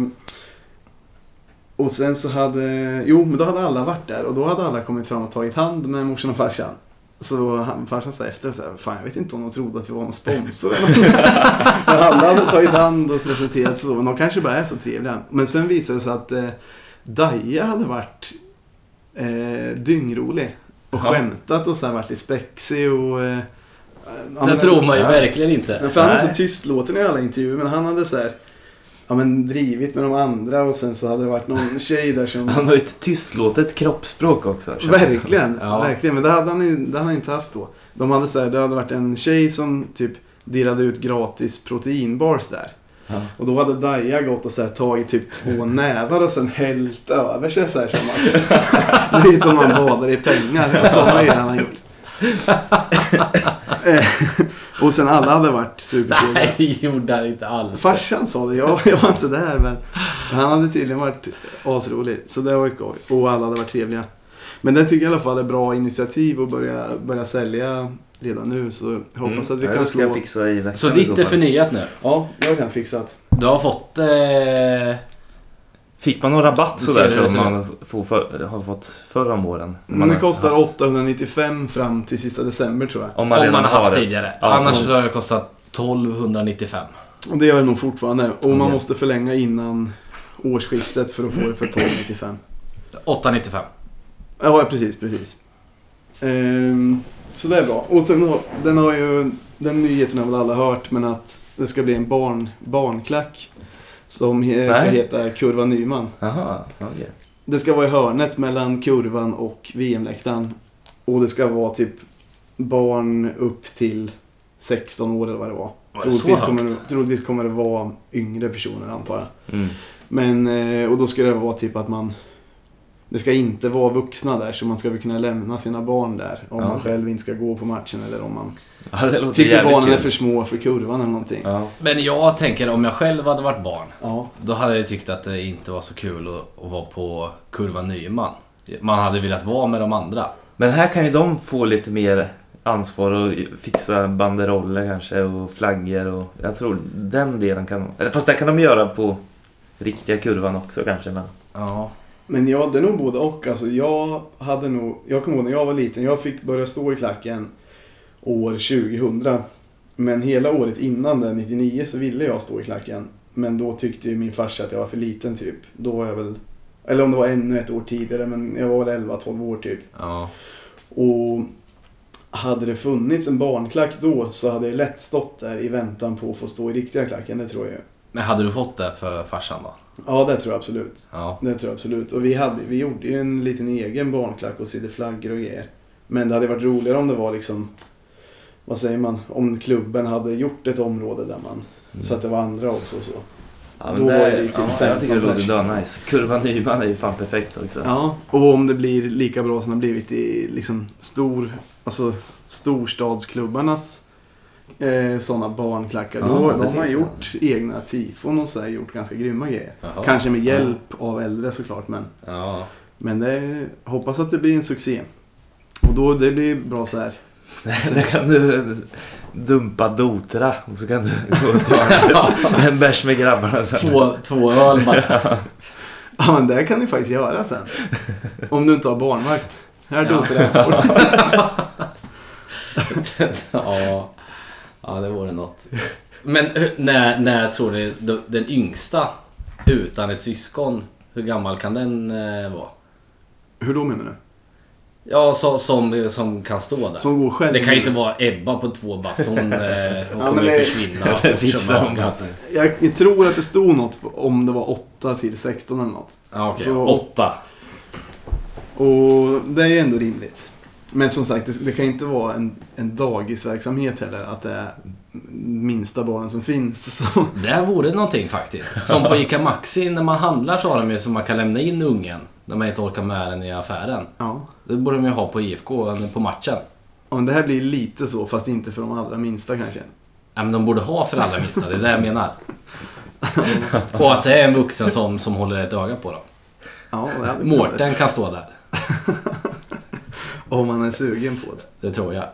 Speaker 1: och sen så hade... Jo, men då hade alla varit där och då hade alla kommit fram och tagit hand med morsan och farsan. Så han, farsan sa efter så här, fan jag vet inte om de trodde att vi var någon sponsor eller något." *laughs* Men alla hade tagit hand och presenterat sig så, men de kanske bara är så trevliga. Men sen visade det sig att eh, Daja hade varit eh, dyngrolig och
Speaker 2: Ja.
Speaker 1: skämtat och så här varit lite spexig och... Eh, ja,
Speaker 3: det
Speaker 1: men-
Speaker 3: tror man ju
Speaker 2: ja.
Speaker 3: verkligen
Speaker 1: Nej,
Speaker 3: inte.
Speaker 1: för han är
Speaker 2: Nej.
Speaker 1: så tystlåten i alla intervjuer, men han hade så här, ja, men drivit med de andra och sen så hade det varit någon tjej där
Speaker 2: *laughs* Han
Speaker 1: som...
Speaker 2: har ju ett tystlåtet kroppsspråk också. känns det som.
Speaker 1: Mm. verkligen,
Speaker 3: Ja.
Speaker 1: verkligen. Men det hade, han, ju- det hade han inte haft då. De hade så här, det hade varit en tjej som typ delade ut gratis proteinbars där.
Speaker 2: Ja.
Speaker 1: Och då hade Daja gått och så här, tagit typ
Speaker 2: *laughs*
Speaker 1: två nävar och sen hällt över sig så här som att... det är lite som man badar i pengar. Sådana grejer han har
Speaker 2: *laughs*
Speaker 1: gjort. Eh, och sen alla hade varit supertrevliga.
Speaker 3: *laughs* Nej, det gjorde han inte alls.
Speaker 1: Farsan sa det, jag, jag var inte där men han hade tydligen varit asrolig. Så det var ju skoj. Och alla hade varit trevliga. Men det tycker jag i alla fall är bra initiativ att börja, börja sälja redan nu. Så jag hoppas att vi
Speaker 2: Mm. Ja,
Speaker 1: kan
Speaker 2: det ska jag
Speaker 1: slå...
Speaker 2: fixa i veckan
Speaker 3: Så
Speaker 2: i
Speaker 3: ditt är
Speaker 2: fall.
Speaker 3: förnyat nu?
Speaker 1: Ja, jag har redan fixat.
Speaker 3: Du har fått... Eh...
Speaker 2: Fick man någon rabatt
Speaker 3: Du ser hur
Speaker 2: sådär
Speaker 3: det
Speaker 2: som
Speaker 3: ser
Speaker 2: man får för, har fått förra om åren? Om
Speaker 1: Men Mm, det
Speaker 2: har
Speaker 1: kostar
Speaker 2: haft-
Speaker 1: 895 fram till sista december tror jag.
Speaker 2: Om man,
Speaker 3: Om
Speaker 2: redan
Speaker 3: man har haft
Speaker 2: har ett.
Speaker 3: tidigare.
Speaker 2: Ja,
Speaker 3: Annars
Speaker 2: om-
Speaker 3: så har det kostat 1295.
Speaker 1: Och det gör det nog fortfarande. Och man
Speaker 2: Mm.
Speaker 1: måste förlänga innan årsskiftet för att få det
Speaker 2: *clears throat*
Speaker 1: för 1295.
Speaker 3: 895.
Speaker 1: Ja, precis, precis. Ehm, så det är bra. Och sen har, den har ju, den nyheten har väl alla hört, men att det ska bli en barn, barnklack. Som he, ska
Speaker 2: Nej.
Speaker 1: heta Kurva Nyman.
Speaker 2: Jaha, okej.
Speaker 1: Det ska vara i hörnet mellan kurvan och VM-läktaren. Och det ska vara typ barn upp till 16 år eller vad det var.
Speaker 3: Var det så
Speaker 1: Troligtvis kommer,
Speaker 3: högt?
Speaker 1: det- troligtvis kommer det vara yngre personer antar jag.
Speaker 2: Mm.
Speaker 1: Men, eh, och då ska det vara typ att man... Det ska inte vara vuxna där, så man ska väl kunna lämna sina barn där. Om
Speaker 2: Ja.
Speaker 1: man själv inte ska gå på matchen eller om man
Speaker 2: Ja, det låter
Speaker 1: tycker
Speaker 2: jävligt
Speaker 1: barnen
Speaker 2: kul.
Speaker 1: är för små för kurvan eller någonting. Ja.
Speaker 2: Ja.
Speaker 3: Men jag tänker om jag själv hade varit barn.
Speaker 1: Ja.
Speaker 3: Då hade jag tyckt att det inte var så kul att, att vara på kurva Nyman. Man hade velat vara med de andra.
Speaker 2: Men här kan ju de få lite mer ansvar och fixa banderoller kanske och flaggor och jag tror den delen kan de... Fast det kan de göra på riktiga kurvan också kanske men...
Speaker 3: Ja.
Speaker 1: Men ja, det är nog både och. Alltså, jag hade nog... Jag kommer ihåg när jag var liten. Jag fick börja stå i klacken år 2000. Men hela året innan det, 99, så ville jag stå i klacken. Men då tyckte ju min farsa att jag var för liten typ. Då var jag väl... Eller om det var ännu ett år tidigare, men jag var väl 11-12 år typ.
Speaker 3: ja.
Speaker 1: Och hade det funnits en barnklack då så hade jag lätt stått där i väntan på att få stå i riktiga klacken, det tror jag. ju.
Speaker 3: Men hade du fått det för farsan då?
Speaker 1: Ja, det tror jag absolut.
Speaker 3: Ja.
Speaker 1: Det tror jag absolut. Och vi, hade, vi gjorde ju en liten egen barnklack och sydde flaggor och grejer. Men det hade varit roligare om det var liksom, vad säger man, om klubben hade gjort ett område där man, så att det var andra också och så.
Speaker 2: Ja, men
Speaker 1: Då
Speaker 2: det,
Speaker 1: var det ju till
Speaker 2: ja, jag tycker det
Speaker 1: 15
Speaker 2: låter dö-nice. Kurva Nyman är ju fan perfekt också.
Speaker 1: Ja, och om det blir lika bra som det har blivit i liksom stor, alltså storstadsklubbarnas eh, sådana barnklackar.
Speaker 2: Ja,
Speaker 1: då
Speaker 2: det
Speaker 1: då har
Speaker 2: finns
Speaker 1: man
Speaker 2: det.
Speaker 1: gjort egna tifon och så här, gjort ganska grymma grejer.
Speaker 3: Jaha.
Speaker 1: Kanske med hjälp av äldre såklart, men,
Speaker 3: Ja.
Speaker 1: men det, hoppas att det blir en succé. Och då det blir bra så här *laughs*
Speaker 2: Där kan du dumpa Dotra och så kan du gå och ta en- en bärs med grabbarna sen. *laughs*
Speaker 3: Två, två öl bara.
Speaker 1: Ja, men det kan ni faktiskt göra sen. Om du inte har barnvakt. Här
Speaker 3: Ja.
Speaker 1: doter jag.
Speaker 3: *laughs* ja. ja, det vore något. Men hur- när, när tror du de- den yngsta utan ett syskon, hur gammal kan den eh, vara?
Speaker 1: *laughs* Hur då menar du?
Speaker 3: Ja, så, som, som kan stå där.
Speaker 1: Som går själv?
Speaker 3: Det kan ju inte vara Ebba på två bast. Hon, eh,
Speaker 1: men
Speaker 3: hon kommer
Speaker 1: *laughs*
Speaker 3: ju
Speaker 1: det-
Speaker 3: försvinna.
Speaker 2: Det fixar hon
Speaker 3: Ja,
Speaker 2: alltså.
Speaker 1: Jag tror att det stod något om det var 8 till 16 eller något.
Speaker 3: Ja, okej.
Speaker 1: Så-
Speaker 3: Åtta.
Speaker 1: Och det är ju ändå rimligt. Men som sagt, det, det kan inte vara en, en dagisverksamhet heller. Att det är minsta barnen som finns. *laughs* Så.
Speaker 3: Det här vore någonting faktiskt. Som på ICA Maxi, när man handlar så har de ju så man kan lämna in ungen. När man inte orkar med den i affären.
Speaker 1: Ja.
Speaker 3: Det borde de ju ha på IFK, eller på matchen.
Speaker 1: Ja, Men det här blir lite så, fast inte för de allra minsta kanske. *laughs*
Speaker 3: Ja, men de borde ha för allra minsta, det är det jag menar. Och att det är en vuxen som, som håller ett öga på dem.
Speaker 1: Ja, det hade kunnat-
Speaker 3: Mårten kan stå där,
Speaker 1: Om man är sugen på det.
Speaker 3: det tror jag.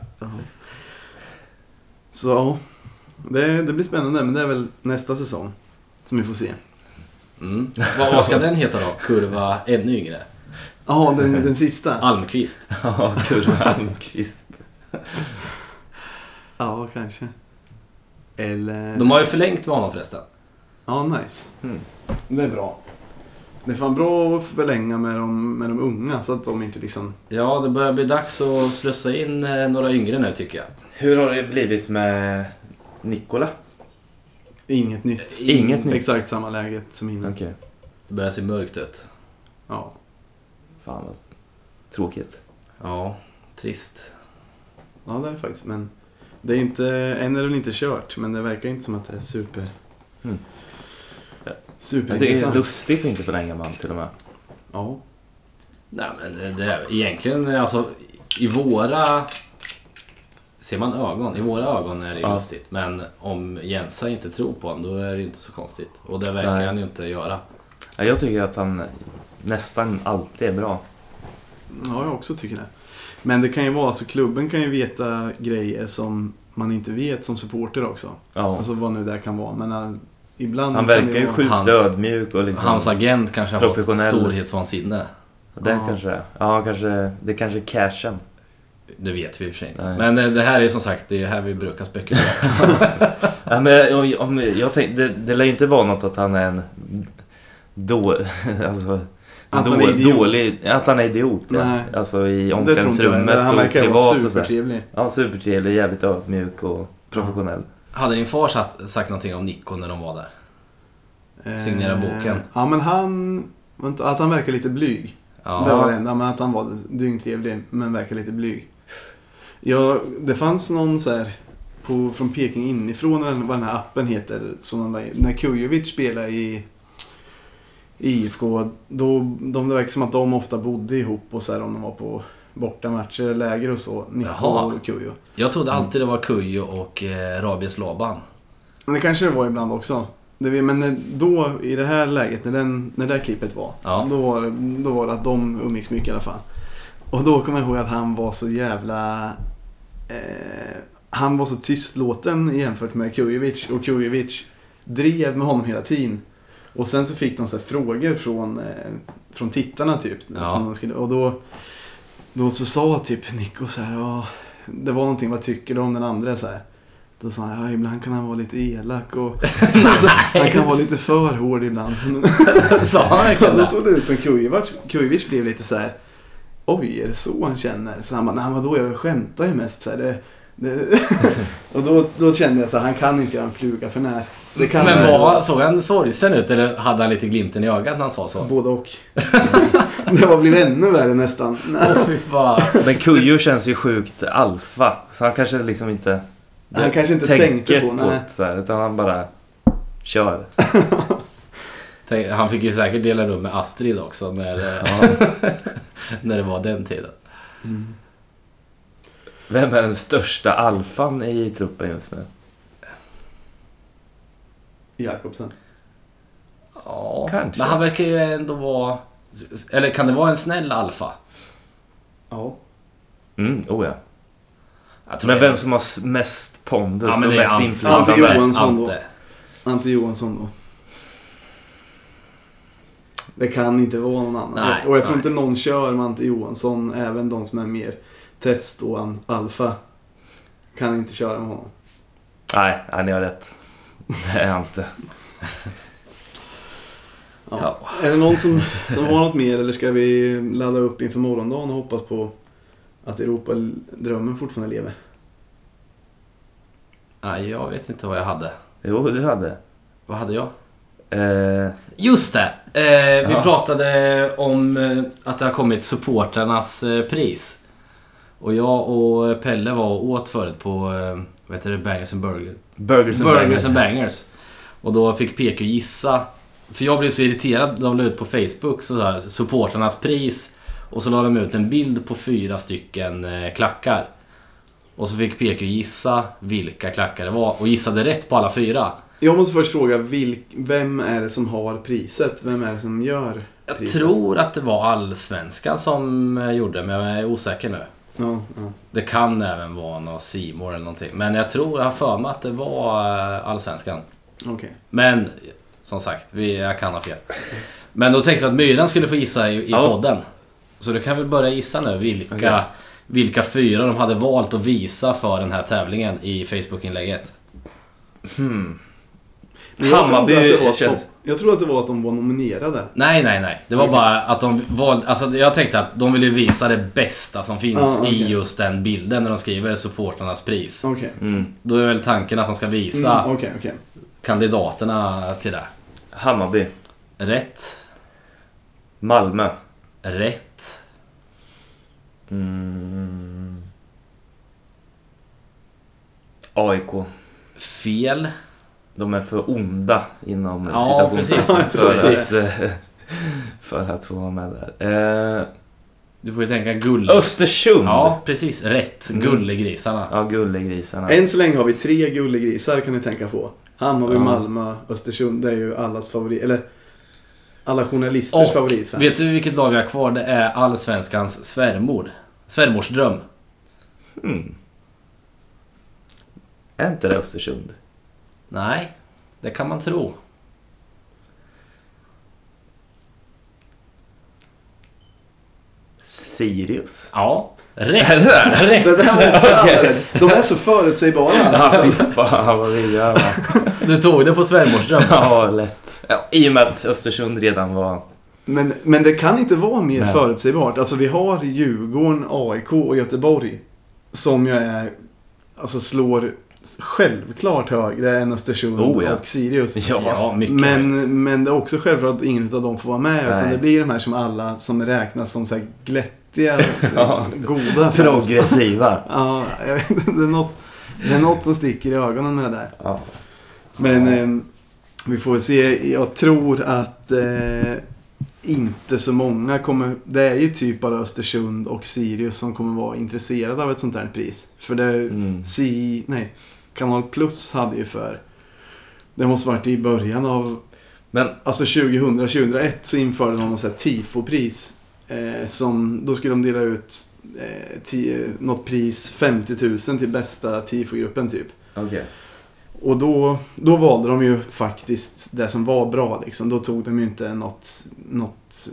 Speaker 1: Så ja, det, det blir spännande. Men det är väl nästa säsong som vi får se.
Speaker 3: Mm. Vad, vad ska den heta då? Kurva ännu yngre?
Speaker 1: Ja, den, den sista.
Speaker 3: Almqvist?
Speaker 2: Ja, Kurva Almqvist.
Speaker 1: Ja, kanske. Eller...
Speaker 3: De har ju förlängt med honom förresten.
Speaker 1: Ja, nice.
Speaker 2: Mm.
Speaker 1: Det är bra. Det är fan bra att förlänga med de, med de unga så att de inte liksom...
Speaker 3: Ja, det börjar bli dags att slussa in eh, några yngre nu tycker jag.
Speaker 2: Hur har det blivit med Nikola?
Speaker 1: Inget nytt. Mm.
Speaker 2: Inget nytt.
Speaker 1: Exakt samma läget som innan.
Speaker 2: Okej.
Speaker 3: Det börjar se mörkt ut.
Speaker 1: Ja.
Speaker 2: Fan vad tråkigt.
Speaker 3: Ja, trist.
Speaker 1: ja, det är det faktiskt. Men det är inte... Än är det väl inte kört, men det verkar inte som att det är super...
Speaker 2: Mm. Jag tycker det är
Speaker 1: Superintressant.
Speaker 2: lustigt att inte förlänga man till och med.
Speaker 1: Ja.
Speaker 3: Nej men det, det är egentligen alltså i våra... Ser man ögon? I våra ögon är det ju
Speaker 2: Ja.
Speaker 3: lustigt. Men om Jensa inte tror på honom då är det ju inte så konstigt. Och det verkar
Speaker 2: Nej.
Speaker 3: han ju inte göra.
Speaker 2: Ja, Jag tycker att han nästan alltid är bra.
Speaker 1: Ja, jag också tycker det. Men det kan ju vara så, klubben kan ju veta grejer som man inte vet som supporter också.
Speaker 2: Ja.
Speaker 1: Alltså vad nu det kan vara. Men eh, ibland
Speaker 2: Han
Speaker 1: kan det
Speaker 2: verkar ju
Speaker 1: vara-
Speaker 2: sjukt
Speaker 3: hans-
Speaker 2: ödmjuk och liksom...
Speaker 3: Hans agent kanske har fått
Speaker 2: Professionell.
Speaker 3: storhetsvansinne.
Speaker 2: Det
Speaker 1: Ja.
Speaker 2: kanske det är. Ja, kanske... Det kanske är cashen.
Speaker 3: Det vet vi i och för sig inte.
Speaker 2: Nej.
Speaker 3: Men eh, det här är ju som sagt, det är här vi brukar spekulera.
Speaker 2: Ja, men om, om, jag tänk, det, det lär ju inte vara något att han är en... Då, *laughs* alltså,
Speaker 1: Att han
Speaker 2: då-
Speaker 1: är idiot.
Speaker 2: Dålig, att han är idiot. Ja.
Speaker 1: Nej.
Speaker 2: Alltså i
Speaker 1: Det tror inte jag.
Speaker 2: omklädningsrummet
Speaker 1: Han
Speaker 2: och
Speaker 1: verkar vara
Speaker 2: privat och så. här.
Speaker 1: supertrevlig.
Speaker 2: Ja, supertrevlig, jävligt ödmjuk och professionell.
Speaker 3: Hade din far sagt, sagt någonting om Nico när de var där? Signera boken.
Speaker 1: Eh, Ja, men han... vänta, Att han verkar lite blyg.
Speaker 3: Ja.
Speaker 1: Det var det enda. Men att han var dyngtrevlig, men verkar lite blyg. Ja, det fanns någon så här... På, från Peking inifrån, eller vad den här appen heter. Som de, la in. när Kujovic spelade i i IFK, då, de, det verkar som att de ofta bodde ihop och så här om de var på bortamatcher, läger och så. Nico
Speaker 3: Jaha.
Speaker 1: och Kujo.
Speaker 3: Jag trodde alltid det var Kujo och eh, Rabies Laban.
Speaker 1: Men det kanske det var ibland också. Det, vi- men när- då, i det här läget, när, den, när det här klippet var,
Speaker 3: Ja.
Speaker 1: då, var det, då var det att de umgicks mycket i alla fall. Och då kommer jag ihåg att han var så jävla... Eh, han var så tystlåten jämfört med Kujovic och Kujovic drev med honom hela tiden. Och sen så fick de så här frågor från, eh, från tittarna typ.
Speaker 3: Ja.
Speaker 1: Som de skulle, och då, då så sa typ Nico så här, ja, det var någonting, vad tycker du om den andra så här? Då sa han, ja ibland kan han vara lite elak och
Speaker 3: *laughs*
Speaker 1: alltså, han kan vara lite för hård ibland.
Speaker 3: Sa han
Speaker 1: Ja,
Speaker 3: verkligen
Speaker 1: då
Speaker 3: det?
Speaker 1: såg det ut som Kujovic. Kujovic blev lite så här. Oj, är det så han känner? Så han bara, nej vadå, jag skämtar ju mest. Så här, det, det. *laughs* och då, då kände jag så här, han kan inte göra en fluga för när. Så det kan
Speaker 3: Men
Speaker 1: han
Speaker 3: var, såg han sorgsen ut eller hade han lite glimten i ögat när han sa
Speaker 1: *laughs*
Speaker 3: så?
Speaker 1: inte. Både och. det var blivit ännu värre nästan.
Speaker 3: Åh fy fan.
Speaker 2: Men Kujo känns ju sjukt alfa. Så han kanske liksom inte...
Speaker 1: Han kanske inte tänkte på, nej.
Speaker 2: det så här, utan han bara... Kör.
Speaker 3: Tänk, han fick ju säkert dela rum med Astrid också när, eh, *laughs* när det var den tiden.
Speaker 2: Vem är den största alfan i truppen just nu?
Speaker 1: Jakobsen.
Speaker 3: Ja,
Speaker 2: Kanske.
Speaker 3: men han verkar ju ändå vara... Eller kan det vara en snäll alfa?
Speaker 1: Ja.
Speaker 2: Mm, oh ja.
Speaker 3: Jag tror
Speaker 2: Men
Speaker 3: det är-
Speaker 2: vem som har s- mest pondus
Speaker 3: Ja, men
Speaker 2: och
Speaker 3: det är
Speaker 2: mest
Speaker 3: Ante.
Speaker 1: Ante
Speaker 2: inflytande?
Speaker 1: Johansson då.
Speaker 3: Ante.
Speaker 1: Ante Johansson då. Det kan inte vara någon annan.
Speaker 3: Nej,
Speaker 1: och jag tror
Speaker 3: nej.
Speaker 1: inte någon kör med Ante Johansson, även de som är mer test och an- alfa. Kan inte köra med honom.
Speaker 2: Nej, nej, ni har rätt. Det är Ante.
Speaker 1: Ja.
Speaker 3: Ja.
Speaker 1: Är det någon som, som har något mer eller ska vi ladda upp inför morgondagen och hoppas på att Europa-drömmen fortfarande lever?
Speaker 3: Nej, jag vet inte vad jag hade.
Speaker 2: Jo, du hade.
Speaker 3: Vad hade jag?
Speaker 2: Eh,
Speaker 3: Just det! Eh, vi
Speaker 2: Ja.
Speaker 3: pratade om eh, att det har kommit supportrarnas eh, pris. Och jag och Pelle var och åt förut på, eh, vad heter det, Bangers and Burger.
Speaker 2: burgers and
Speaker 3: Burgers
Speaker 2: bangers.
Speaker 3: and Bangers. Och då fick PQ gissa. För jag blev så irriterad. De la ut på Facebook så här, supporternas pris. Och så la de ut en bild på fyra stycken eh, klackar. Och så fick PQ gissa vilka klackar det var och gissade rätt på alla fyra.
Speaker 1: Jag måste först fråga, vilk, vem är det som har priset? Vem är det som gör
Speaker 3: Jag
Speaker 1: priset?
Speaker 3: tror att det var allsvenskan som eh, gjorde men jag är osäker nu.
Speaker 1: Ja, ja.
Speaker 3: Det kan även vara någon C More eller någonting. Men jag tror, jag har för mig att det var eh, allsvenskan.
Speaker 1: Okej.
Speaker 3: Men som sagt, vi, jag kan
Speaker 2: *laughs*
Speaker 3: ha fel. Men då tänkte vi att Myran skulle få gissa i, i
Speaker 2: Ja.
Speaker 3: podden. Så du kan väl börja gissa nu vilka,
Speaker 2: Okej.
Speaker 3: vilka fyra de hade valt att visa för den här tävlingen i Facebook-inlägget.
Speaker 1: Men jag
Speaker 2: Hammarby
Speaker 1: trodde att det var att
Speaker 2: känns-
Speaker 1: de- Jag trodde att det var att de var nominerade.
Speaker 3: Nej, nej, nej. Det var bara att de valde... Alltså jag tänkte att de ville visa det bästa som finns
Speaker 1: Ja, Ah, okej.
Speaker 3: i just den bilden när de skriver supportrarnas pris.
Speaker 1: Okej.
Speaker 2: Mm.
Speaker 3: Då är väl tanken att de ska visa
Speaker 1: Mm, Okej, okej.
Speaker 3: kandidaterna till det.
Speaker 2: Hammarby.
Speaker 3: Rätt,
Speaker 2: Malmö.
Speaker 3: rätt,
Speaker 2: Mm. AIK.
Speaker 3: fel.
Speaker 2: De är för onda inom
Speaker 3: Ja,
Speaker 2: citationstecken
Speaker 1: precis. *laughs*
Speaker 2: för,
Speaker 1: Precis.
Speaker 2: att, eh, *laughs* för att få vara med där. Eh,
Speaker 3: Du får ju tänka gull.
Speaker 2: Östersund!
Speaker 3: Ja, precis. Rätt.
Speaker 2: Mm.
Speaker 3: Gullegrisarna.
Speaker 2: ja gullegrisarna.
Speaker 1: Än så länge har vi tre gullegrisar kan ni tänka på. Hammarby,
Speaker 2: Ja.
Speaker 1: Malmö, Östersund. Det är ju allas favorit. Eller alla journalisters
Speaker 3: Och
Speaker 1: favoritfan.
Speaker 3: vet du vilket lag vi har kvar? Det är Allsvenskans svärmor. Svärmors dröm.
Speaker 2: Mm. Är inte det Östersund?
Speaker 3: Nej, det kan man tro.
Speaker 2: Sirius?
Speaker 1: *laughs*
Speaker 3: Ja, rätt.
Speaker 2: Är det där?
Speaker 1: Det
Speaker 3: rätt.
Speaker 1: där var också alla
Speaker 2: *laughs* Okej.
Speaker 1: rätt. De är så förutsägbara alltså.
Speaker 2: Ja, fy fan vad
Speaker 1: *laughs*
Speaker 2: vi gör. va?
Speaker 3: Du tog det på svärmors dröm.
Speaker 2: Ja, lätt. Ja, I och med att Östersund redan var...
Speaker 1: Men, men det kan inte vara mer
Speaker 2: Nej.
Speaker 1: förutsägbart. Alltså vi har Djurgården, AIK och Göteborg. Som jag är, alltså slår självklart högre än Östersund
Speaker 2: Oh, ja.
Speaker 1: och Sirius.
Speaker 2: Ja.
Speaker 3: Ja, mycket.
Speaker 1: Men, men det är också självklart att ingen av dem får vara med. Utan
Speaker 2: Nej.
Speaker 1: det blir de här som alla som räknas som så här glättiga,
Speaker 2: *laughs* Ja.
Speaker 1: goda fans.
Speaker 2: Progressiva.
Speaker 1: Ja, jag vet inte, det, är något, det är något som sticker i ögonen med det där.
Speaker 2: Ja.
Speaker 1: Men eh, vi får väl se. Jag tror att eh, inte så många kommer... Det är ju typ bara Östersund och Sirius som kommer vara intresserade av ett sånt här pris. För det,
Speaker 2: Mm.
Speaker 1: Si, nej, Kanal Plus hade ju för... Det måste varit i början av...
Speaker 2: Men-
Speaker 1: Alltså 2000, 2001 så införde de något sånt här tifopris. Eh, som, då skulle de dela ut eh, ti, något pris, 50 000 till bästa tifogruppen typ.
Speaker 2: Okej.
Speaker 1: Och då, då valde de ju faktiskt det som var bra liksom. Då tog de ju inte något... något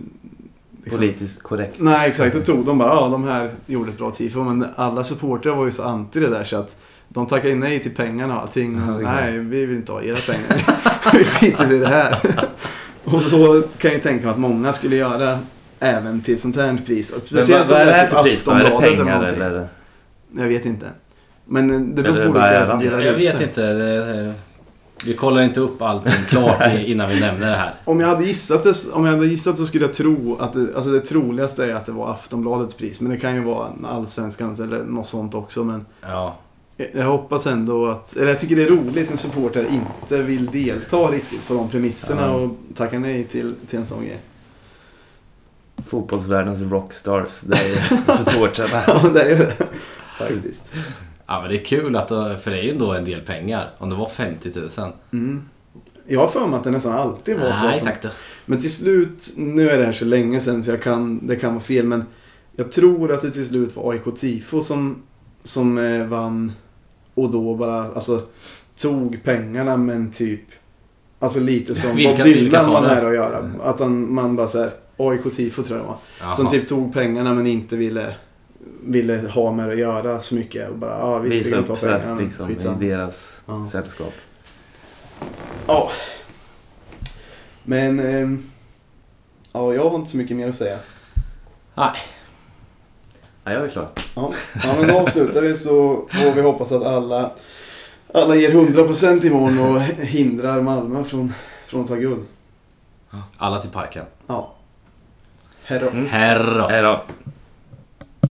Speaker 1: liksom,
Speaker 2: Politiskt korrekt.
Speaker 1: Nej, exakt. Då tog de bara, ja de här gjorde ett bra tifo. Men alla supportrar var ju så anti det där så att de tackade ju nej till pengarna och allting.
Speaker 2: Ja, det är
Speaker 1: nej, vi vill inte ha era pengar. *laughs* vi skiter i det här.
Speaker 2: *laughs*
Speaker 1: och så kan jag tänka mig att många skulle göra även till sånt här pris. Och
Speaker 2: Men vad,
Speaker 1: om
Speaker 2: vad är det här
Speaker 1: typ
Speaker 2: för pris då? Är det
Speaker 1: Aftonbladet
Speaker 2: pengar
Speaker 1: någonting.
Speaker 2: eller?
Speaker 1: Jag vet inte. Men eh, det beror
Speaker 2: Eller
Speaker 1: på
Speaker 2: vad är
Speaker 1: vilka som
Speaker 2: det?
Speaker 1: delar
Speaker 3: Jag
Speaker 1: ut
Speaker 3: vet
Speaker 1: det.
Speaker 3: inte. Det, vi kollar inte upp allting klart
Speaker 1: *laughs*
Speaker 3: i- innan vi nämner det här.
Speaker 1: Om jag hade gissat, det, om jag hade gissat så skulle jag tro att det, alltså det troligaste är att det var Aftonbladets pris. Men det kan ju vara en Allsvenskans eller något sånt också. Men
Speaker 3: Ja.
Speaker 1: jag, jag hoppas ändå att... Eller jag tycker det är roligt när supportrar inte vill delta riktigt på de premisserna
Speaker 2: Ja.
Speaker 1: och tackar nej till, till en sån grej. *laughs*
Speaker 2: Fotbollsvärldens rockstars. Det är *laughs* ju supportrarna.
Speaker 1: Ja, det är ju det. Faktiskt.
Speaker 3: ja, men det är kul att det- för det är ju ändå en del pengar. Om det var 50 000.
Speaker 1: Mm. Jag har för mig att det nästan alltid var så.
Speaker 3: Nej
Speaker 1: att de-
Speaker 3: tack du.
Speaker 1: Men till slut, nu är det här så länge sedan så jag kan, det kan vara fel men jag tror att det till slut var AIK Tifo som som eh, vann och då bara alltså, tog pengarna men typ Alltså lite som
Speaker 3: Vilka-
Speaker 1: Bob
Speaker 3: vilka
Speaker 1: Dylan
Speaker 3: sa
Speaker 1: var
Speaker 3: det? Mm.
Speaker 1: nära att göra. Att han, man bara såhär, AIK tifo tror jag det var.
Speaker 3: Jaha.
Speaker 1: Som typ tog pengarna men inte ville, ville ha med det att göra så mycket. Och bara, ah, visst,
Speaker 2: Visa
Speaker 1: vi kan
Speaker 2: upp
Speaker 1: ta
Speaker 2: sig
Speaker 1: pengarna. men
Speaker 2: liksom,
Speaker 1: skitsamma."
Speaker 2: i deras
Speaker 1: Ja.
Speaker 2: sällskap.
Speaker 1: Ja. Men... ehm, ja, jag har inte så mycket mer att säga.
Speaker 2: Ja, jag är klar.
Speaker 1: Ja, ja men då avslutar vi så får vi hoppas att alla, alla ger 100% imorgon och hindrar Malmö från, från att ta guld.
Speaker 3: Alla till parken.
Speaker 1: Ja. Herre.
Speaker 2: Mm.
Speaker 3: Herra.
Speaker 2: Hej då.